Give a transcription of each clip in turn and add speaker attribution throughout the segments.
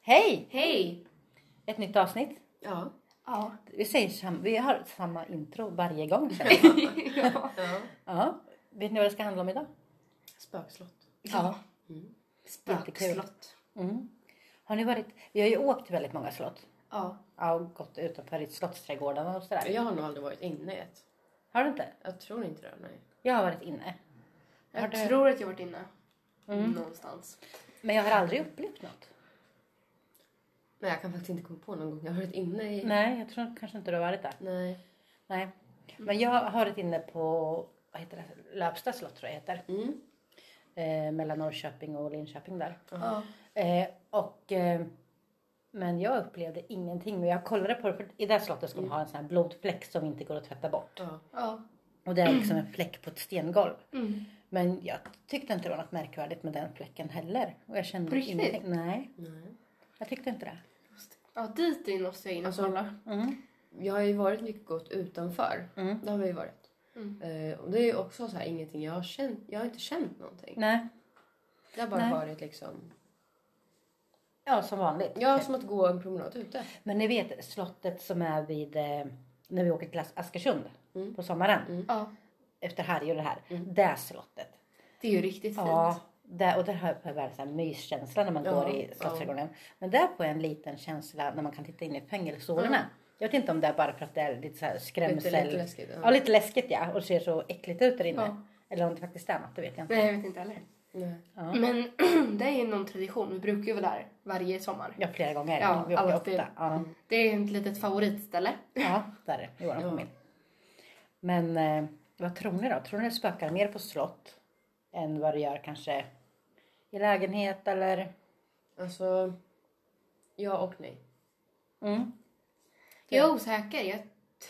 Speaker 1: Hej!
Speaker 2: Hej!
Speaker 1: Ett nytt avsnitt.
Speaker 3: Ja.
Speaker 2: Ja.
Speaker 1: Vi, säger sam- vi har samma intro varje gång. känner jag.
Speaker 3: ja.
Speaker 1: ja. Vet ni vad det ska handla om idag?
Speaker 3: Spökslott.
Speaker 2: ja.
Speaker 3: Mm.
Speaker 2: Spökslott.
Speaker 1: Mm. Har ni varit... Vi har ju åkt till väldigt många slott.
Speaker 2: Ja.
Speaker 1: Ja, och gått utanför i slottsträdgårdarna och sådär.
Speaker 3: Jag har nog aldrig varit inne i ett.
Speaker 1: Har du inte?
Speaker 3: Jag tror inte det. Nej.
Speaker 1: Jag har varit inne. Har
Speaker 2: Jag
Speaker 1: du-
Speaker 2: tror att jag varit inne.
Speaker 1: Mm.
Speaker 2: Någonstans.
Speaker 1: Men jag har aldrig upplevt något.
Speaker 3: nej, jag kan faktiskt inte komma på någon gång jag har varit inne i.
Speaker 1: Nej, jag tror kanske inte du har varit där.
Speaker 3: Nej.
Speaker 1: Nej. Men jag har varit inne på vad heter det? Löpsta slott tror jag heter.
Speaker 3: Mm.
Speaker 1: Eh, mellan Norrköping och Linköping där.
Speaker 2: Ja.
Speaker 1: Eh, och, eh, men jag upplevde ingenting. Men jag kollade på det, för i det här slottet ska man ha en sån här blodfläck som inte går att tvätta bort.
Speaker 3: Ja.
Speaker 2: Ja.
Speaker 1: Och det är liksom en fläck på ett stengolv.
Speaker 2: Mm.
Speaker 1: Men jag tyckte inte det var något märkvärdigt med den fläcken heller. Och jag kände
Speaker 2: På riktigt?
Speaker 1: ingenting. Nej,
Speaker 3: Nej.
Speaker 1: jag tyckte inte det.
Speaker 2: Ja, dit in måste jag in och
Speaker 3: Alltså-
Speaker 2: kolla.
Speaker 1: Mm.
Speaker 3: Jag har ju varit mycket gott utanför.
Speaker 1: Mm.
Speaker 3: Det har vi ju varit.
Speaker 2: Mm.
Speaker 3: Eh, och det är ju också så här, ingenting jag har känt. Jag har inte känt någonting.
Speaker 1: Nej,
Speaker 3: Det har bara
Speaker 1: Nej.
Speaker 3: varit liksom.
Speaker 1: ja som vanligt.
Speaker 3: Ja, som att gå en promenad ute.
Speaker 1: Men ni vet slottet som är vid eh, när vi åker till As- Askersund
Speaker 3: Mm.
Speaker 1: på sommaren.
Speaker 2: Ja.
Speaker 1: Efter Harry och det här.
Speaker 3: Mm.
Speaker 1: Det slottet.
Speaker 2: Det är ju riktigt fint.
Speaker 1: Ja, där, och där har jag väl så här myskänsla när man
Speaker 3: Ja,
Speaker 1: går i
Speaker 3: ja.
Speaker 1: Slottsträdgården. Men där får jag en liten känsla när man kan titta in i fängelserna.
Speaker 3: Mm.
Speaker 1: Jag vet inte om det är bara för att det är lite så här skrämsel.
Speaker 3: Lite, lite läskigt.
Speaker 1: Ja, lite läskigt ja. Och ser så äckligt ut där inne.
Speaker 2: Ja.
Speaker 1: Eller om det faktiskt är något, det vet jag inte.
Speaker 2: Nej, jag vet inte heller.
Speaker 3: Nej.
Speaker 1: Ja.
Speaker 2: Men det är ju någon tradition. Vi brukar ju vara där varje sommar.
Speaker 1: Ja, flera gånger.
Speaker 2: Ja,
Speaker 1: vi åker
Speaker 2: alltid. Mm.
Speaker 1: ofta. Ja.
Speaker 2: Det är ett litet favoritställe.
Speaker 1: ja, där är det i vår
Speaker 3: Ja.
Speaker 1: familj. Men eh, vad tror ni då? Tror ni det spökar mer på slott än vad det gör kanske i lägenhet eller?
Speaker 3: Alltså. Ja och nej.
Speaker 1: Mm.
Speaker 2: Jag är osäker. Jag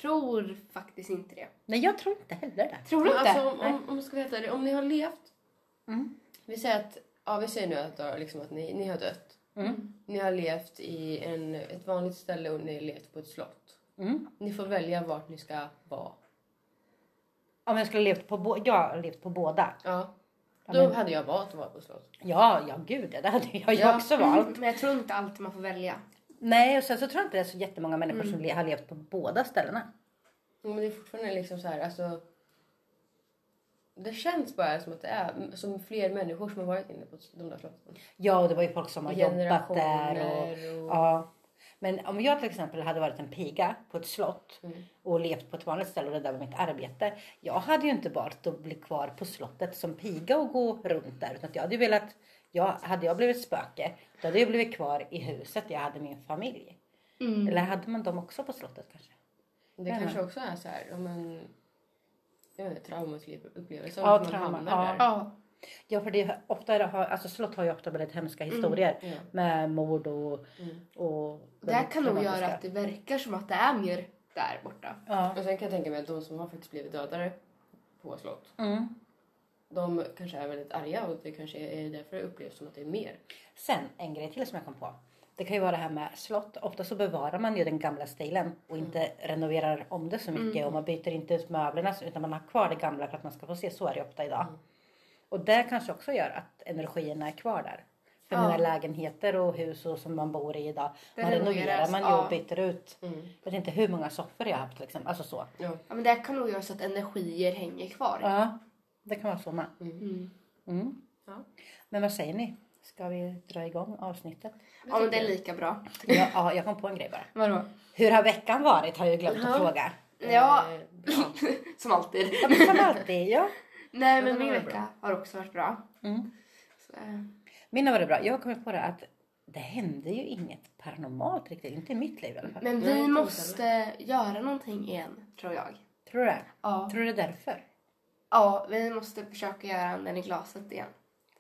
Speaker 2: tror faktiskt inte det.
Speaker 1: Nej, jag tror inte heller det.
Speaker 2: Tror du
Speaker 3: Men
Speaker 2: inte?
Speaker 3: Alltså, om,
Speaker 1: Nej.
Speaker 3: om, om, ska vi veta det, om ni har levt.
Speaker 1: Mm.
Speaker 3: Vi säger att, ja, vi säger nu att, då, liksom, att ni, ni har dött.
Speaker 1: Mm.
Speaker 3: Ni har levt i en, ett vanligt ställe och ni har levt på ett slott.
Speaker 1: Mm.
Speaker 3: Ni får välja vart ni ska vara.
Speaker 1: Om jag skulle levt på, bå- jag har levt på båda.
Speaker 3: Ja.
Speaker 1: Ja,
Speaker 3: Då
Speaker 1: men-
Speaker 3: hade jag valt att vara på slott.
Speaker 1: Ja, ja gud ja, det hade jag ju
Speaker 3: Ja.
Speaker 1: också valt.
Speaker 2: Men jag tror inte alltid man får välja.
Speaker 1: Nej, och sen så tror jag inte det är så jättemånga människor
Speaker 3: Mm.
Speaker 1: som le- har levt på båda ställena.
Speaker 3: Men det är fortfarande liksom så här, alltså. Det känns bara som att det är som fler människor som har varit inne på de där slotten.
Speaker 1: Ja, och det var ju folk som har jobbat där. Och,
Speaker 3: och...
Speaker 1: ja. Men om jag till exempel hade varit en piga på ett slott
Speaker 3: Mm.
Speaker 1: och levt på ett vanligt ställe och det där var mitt arbete. Jag hade ju inte valt att bli kvar på slottet som piga och gå runt där. Utan att jag hade ju velat, jag, hade jag blivit spöke, då hade jag blivit kvar i huset jag hade min familj.
Speaker 2: Mm.
Speaker 1: Eller hade man dem också på slottet kanske?
Speaker 3: Det
Speaker 1: Men-
Speaker 3: kanske också är så här, om en, jag vet inte, traumaupplevelser.
Speaker 1: Ja,
Speaker 3: som man
Speaker 1: trauma,
Speaker 3: hamnar
Speaker 1: ja.
Speaker 3: där.
Speaker 2: Ja.
Speaker 1: Ja, för det är ofta har, alltså slott har ju ofta väldigt hemska
Speaker 2: Mm,
Speaker 1: historier
Speaker 3: Ja.
Speaker 1: med mord och...
Speaker 3: Mm.
Speaker 1: och
Speaker 2: Det här kan nog
Speaker 1: traumatiska.
Speaker 2: göra att det verkar som att det är mer där borta.
Speaker 1: Ja.
Speaker 3: Och sen kan jag tänka mig att de som har faktiskt blivit dödade på slott,
Speaker 1: Mm.
Speaker 3: de kanske är väldigt arga och det kanske är därför det upplevs som att det är mer.
Speaker 1: Sen en grej till som jag kom på. Det kan ju vara det här med slott. Ofta så bevarar man ju den gamla stilen och inte
Speaker 2: Mm.
Speaker 1: renoverar om det så mycket och man byter inte ut möblerna utan man har kvar det gamla för att man ska få se. Så är det ju ofta idag.
Speaker 2: Mm.
Speaker 1: Och det kanske också gör att energierna är kvar där. För
Speaker 2: Ja.
Speaker 1: mina lägenheter och hus och som man bor i idag,
Speaker 2: Det
Speaker 1: man renoverar
Speaker 2: renoveras,
Speaker 1: man ju
Speaker 2: ja.
Speaker 1: och byter ut.
Speaker 3: Mm.
Speaker 1: Jag vet inte hur många soffor jag har haft liksom. Alltså så.
Speaker 3: Ja.
Speaker 2: Ja, men det här kan nog göra så att energier hänger kvar.
Speaker 1: Ja, det kan vara så med.
Speaker 2: Mm.
Speaker 1: Mm.
Speaker 3: Ja.
Speaker 1: Men vad säger ni? Ska vi dra igång avsnittet?
Speaker 2: Ja, men det är lika bra.
Speaker 1: Ja, ja, jag kom på en grej bara.
Speaker 2: Vadå?
Speaker 1: Hur har veckan varit har jag glömt att
Speaker 3: Ja.
Speaker 1: fråga.
Speaker 2: Ja,
Speaker 3: Eh, bra.
Speaker 2: som alltid.
Speaker 1: Ja, men Som alltid, ja.
Speaker 2: Nej,
Speaker 3: den
Speaker 2: men
Speaker 3: har
Speaker 2: min
Speaker 3: varit
Speaker 2: vecka har också varit bra.
Speaker 1: Mm.
Speaker 2: Så, eh,
Speaker 1: Min har varit bra. Jag har kommit på det att det hände ju inget paranormalt riktigt. Inte i mitt liv i alla fall.
Speaker 2: Men
Speaker 3: Nej,
Speaker 2: vi
Speaker 3: inte
Speaker 2: måste göra någonting igen, tror jag.
Speaker 1: Tror du det?
Speaker 2: Ja.
Speaker 1: Tror du det är därför?
Speaker 2: ja, vi måste försöka göra anden i glaset igen.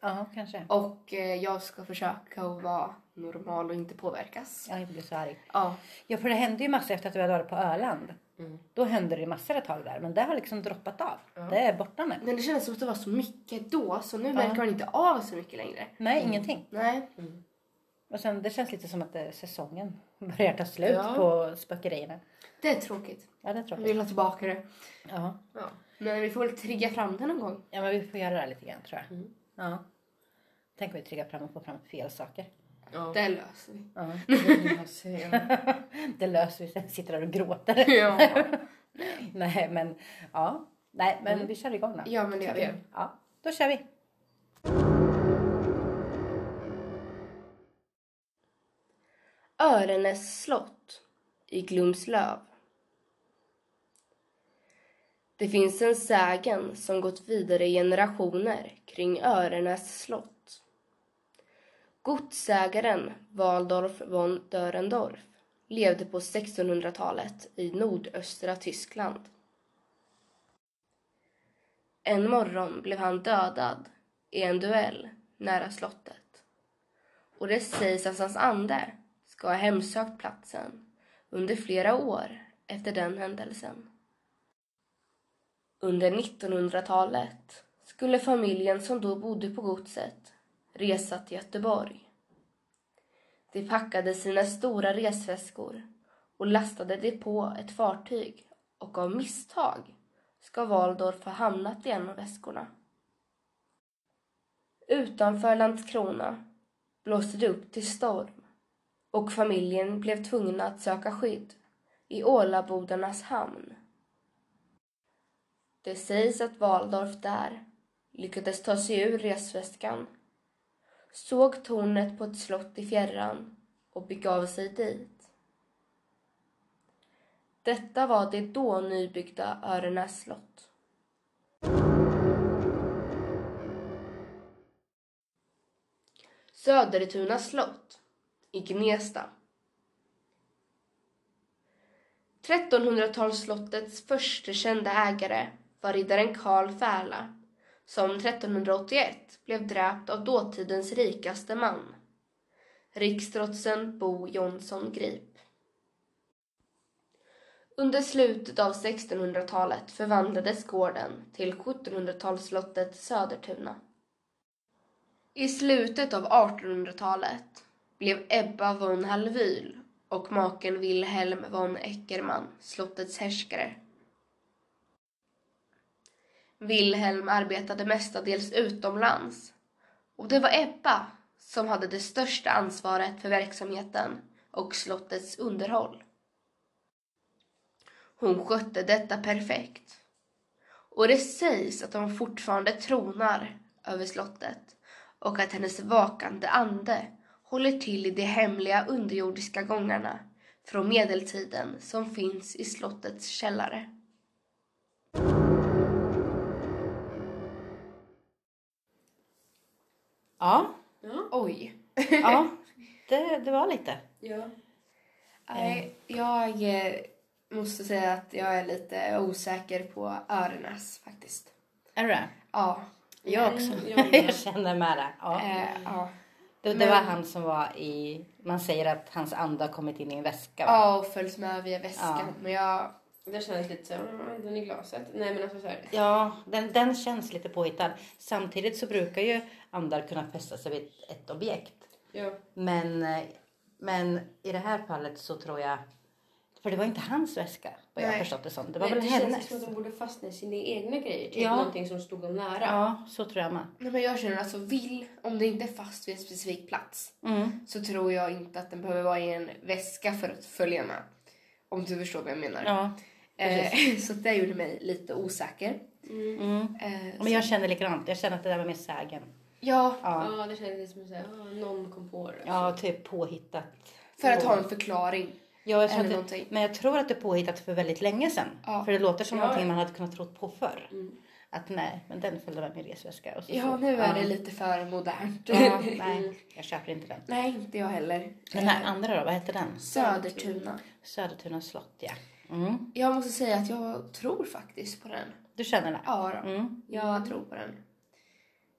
Speaker 1: Ja, kanske.
Speaker 2: Och eh, jag ska försöka att vara normal och inte påverkas.
Speaker 1: Ja, jag blir så arg.
Speaker 2: Ja.
Speaker 1: Ja, för det hände ju massor efter att vi hade varit på Öland.
Speaker 3: Mm.
Speaker 1: Då hände det ju massor ett tag där. Men det har liksom droppat av.
Speaker 3: Ja.
Speaker 1: Det är borta nu.
Speaker 2: Men det kändes som att det var så mycket då, så nu märker man inte av så mycket längre.
Speaker 1: Nej,
Speaker 3: Mm.
Speaker 1: ingenting.
Speaker 2: Nej.
Speaker 1: Och sen det känns lite som att eh, säsongen börjar ta slut
Speaker 3: Ja.
Speaker 1: på spökerierna.
Speaker 2: Det är tråkigt.
Speaker 1: Ja, det är
Speaker 2: Vi
Speaker 1: tråkigt.
Speaker 2: vill ha tillbaka det.
Speaker 1: Ja.
Speaker 3: Ja.
Speaker 2: Men vi får väl trigga fram det någon gång.
Speaker 1: ja, men vi får göra det här lite grann tror jag.
Speaker 3: Mm.
Speaker 1: Ja. Tänk om vi triggar fram och får fram fel saker.
Speaker 3: Ja.
Speaker 4: Det löser vi.
Speaker 1: Ja.
Speaker 3: Det...
Speaker 1: det löser vi sen. Sitter där och gråter.
Speaker 4: Ja.
Speaker 1: Nej men ja. Nej men vi kör igång då.
Speaker 4: ja, men det gör vi.
Speaker 3: Okej.
Speaker 1: Ja, då kör vi.
Speaker 2: Örenäs slott i Glumslöv. Det finns en sägen som gått vidare i generationer kring Örenäs slott. Godsägaren Waldorf von Dörendorf levde på 1600-talet i nordöstra Tyskland. En morgon blev han dödad i en duell nära slottet och det sägs att hans ande ska ha hemsökt platsen under flera år efter den händelsen. Under 1900-talet skulle familjen som då bodde på godset resa till Göteborg. De packade sina stora resväskor och lastade det på ett fartyg och av misstag ska Waldorf ha hamnat i en av väskorna. Utanför Landskrona blåste det upp till storm och familjen blev tvungna att söka skydd i Ålabodarnas hamn. Det sägs att Waldorf där lyckades ta sig ur resväskan, såg tornet på ett slott i fjärran och begav sig dit. Detta var det då nybyggda Örenäs slott. Södertuna slott i Gnesta. 1300-talsslottets första kända ägare var riddaren Karl Färla som 1381 blev dräpt av dåtidens rikaste man, riksdrotsen Bo Jonsson Grip. Under slutet av 1600-talet förvandlades gården till 1700-talsslottet Södertuna. I slutet av 1800-talet blev Ebba von Hallwyl och maken Wilhelm von Eckermann slottets härskare. Wilhelm arbetade mestadels utomlands och det var Ebba som hade det största ansvaret för verksamheten och slottets underhåll. Hon skötte detta perfekt och det sägs att hon fortfarande tronar över slottet och att hennes vakande ande håller till i de hemliga underjordiska gångarna från medeltiden som finns i slottets källare.
Speaker 1: Ja,
Speaker 3: Ja.
Speaker 4: Oj.
Speaker 1: ja. Det, det var lite.
Speaker 3: ja.
Speaker 4: Nej, jag eh, måste säga att jag är lite osäker på Örenäs faktiskt.
Speaker 1: Är du det?
Speaker 4: Ja.
Speaker 2: Mm.
Speaker 1: Jag också.
Speaker 3: jag med.
Speaker 1: Jag känner med det. Ja.
Speaker 4: Eh, ja.
Speaker 1: Det, det var han som var i... Man säger att hans ande har kommit in i en väska. Va?
Speaker 4: ja, och följs med via väskan.
Speaker 1: Ja.
Speaker 4: Men jag...
Speaker 3: Det känns lite såhär, mm, den i glaset. Nej men alltså såhär.
Speaker 1: Ja, den, den känns lite påhittad. Samtidigt så brukar ju andar kunna fästa sig vid ett objekt.
Speaker 3: Ja.
Speaker 1: Men, eh, men i det här fallet så tror jag... För det var inte hans väska, vad jag har
Speaker 4: Nej.
Speaker 1: förstått det som. Det var
Speaker 3: Nej,
Speaker 1: väl
Speaker 3: det
Speaker 1: hennes.
Speaker 3: känns som att de borde fastna i sina egna grejer. Typ
Speaker 1: Ja.
Speaker 3: någonting som stod dem nära.
Speaker 1: Ja, så tror jag med.
Speaker 4: Nej, men jag känner alltså vill, om det inte är fast vid en specifik plats
Speaker 1: Mm.
Speaker 4: så tror jag inte att den behöver vara i en väska för att följa med. Om du förstår vad jag menar.
Speaker 1: Ja.
Speaker 4: eh, så det gjorde mig lite osäker.
Speaker 1: Mm.
Speaker 4: Eh,
Speaker 1: Men jag känner likadant. Jag känner att det där var mer sägen.
Speaker 4: ja,
Speaker 1: Ja,
Speaker 3: Ja, det kändes som att ah, någon kom på det.
Speaker 1: ja typ påhittat.
Speaker 4: för att ha en förklaring.
Speaker 1: Ja, jag tror
Speaker 4: Eller
Speaker 1: att det,
Speaker 4: någonting.
Speaker 1: men jag tror att det är påhittat för väldigt länge sedan.
Speaker 4: Ja.
Speaker 1: För det låter som
Speaker 3: Ja,
Speaker 1: någonting
Speaker 3: ja.
Speaker 1: man hade kunnat tro på förr.
Speaker 3: Mm.
Speaker 1: Att nej, men den följde med min resväska. Och så,
Speaker 4: Ja,
Speaker 1: så.
Speaker 4: nu är det lite för modernt.
Speaker 1: Ja, nej, jag köper inte den.
Speaker 4: Nej, inte jag heller. Eh,
Speaker 1: Den här andra då, vad hette den?
Speaker 4: Södertuna.
Speaker 1: Södertuna slott ja. Mm.
Speaker 4: Jag måste säga att jag tror faktiskt på den.
Speaker 1: Du känner den?
Speaker 4: Ja, då.
Speaker 1: Mm.
Speaker 4: jag tror på den.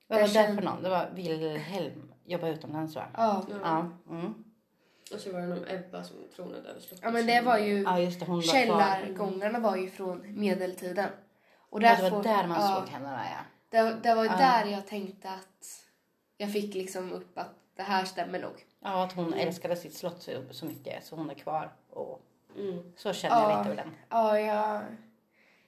Speaker 1: Vad var
Speaker 4: Jag
Speaker 1: det
Speaker 4: känner-
Speaker 1: för någon? Det var Wilhelm, jobbar utomlands va?
Speaker 4: Ja.
Speaker 1: Ja. Mm.
Speaker 3: Och så var det någon Ebba som tronade över slottet.
Speaker 4: ja, men det var ju...
Speaker 1: ja, just det. Hon var kvar.
Speaker 4: Källargångarna var ju från medeltiden. Och
Speaker 1: Ja, det var
Speaker 4: får-
Speaker 1: där man
Speaker 4: ja,
Speaker 1: såg henne va? Ja.
Speaker 4: Det, det var ju
Speaker 1: Ja.
Speaker 4: där jag tänkte att jag fick liksom upp att det här stämmer nog.
Speaker 1: ja, att hon älskade sitt slott så, så mycket så hon är kvar. Och
Speaker 3: Mm.
Speaker 1: så känner jag
Speaker 4: Ja.
Speaker 1: lite över den.
Speaker 4: Ja, jag,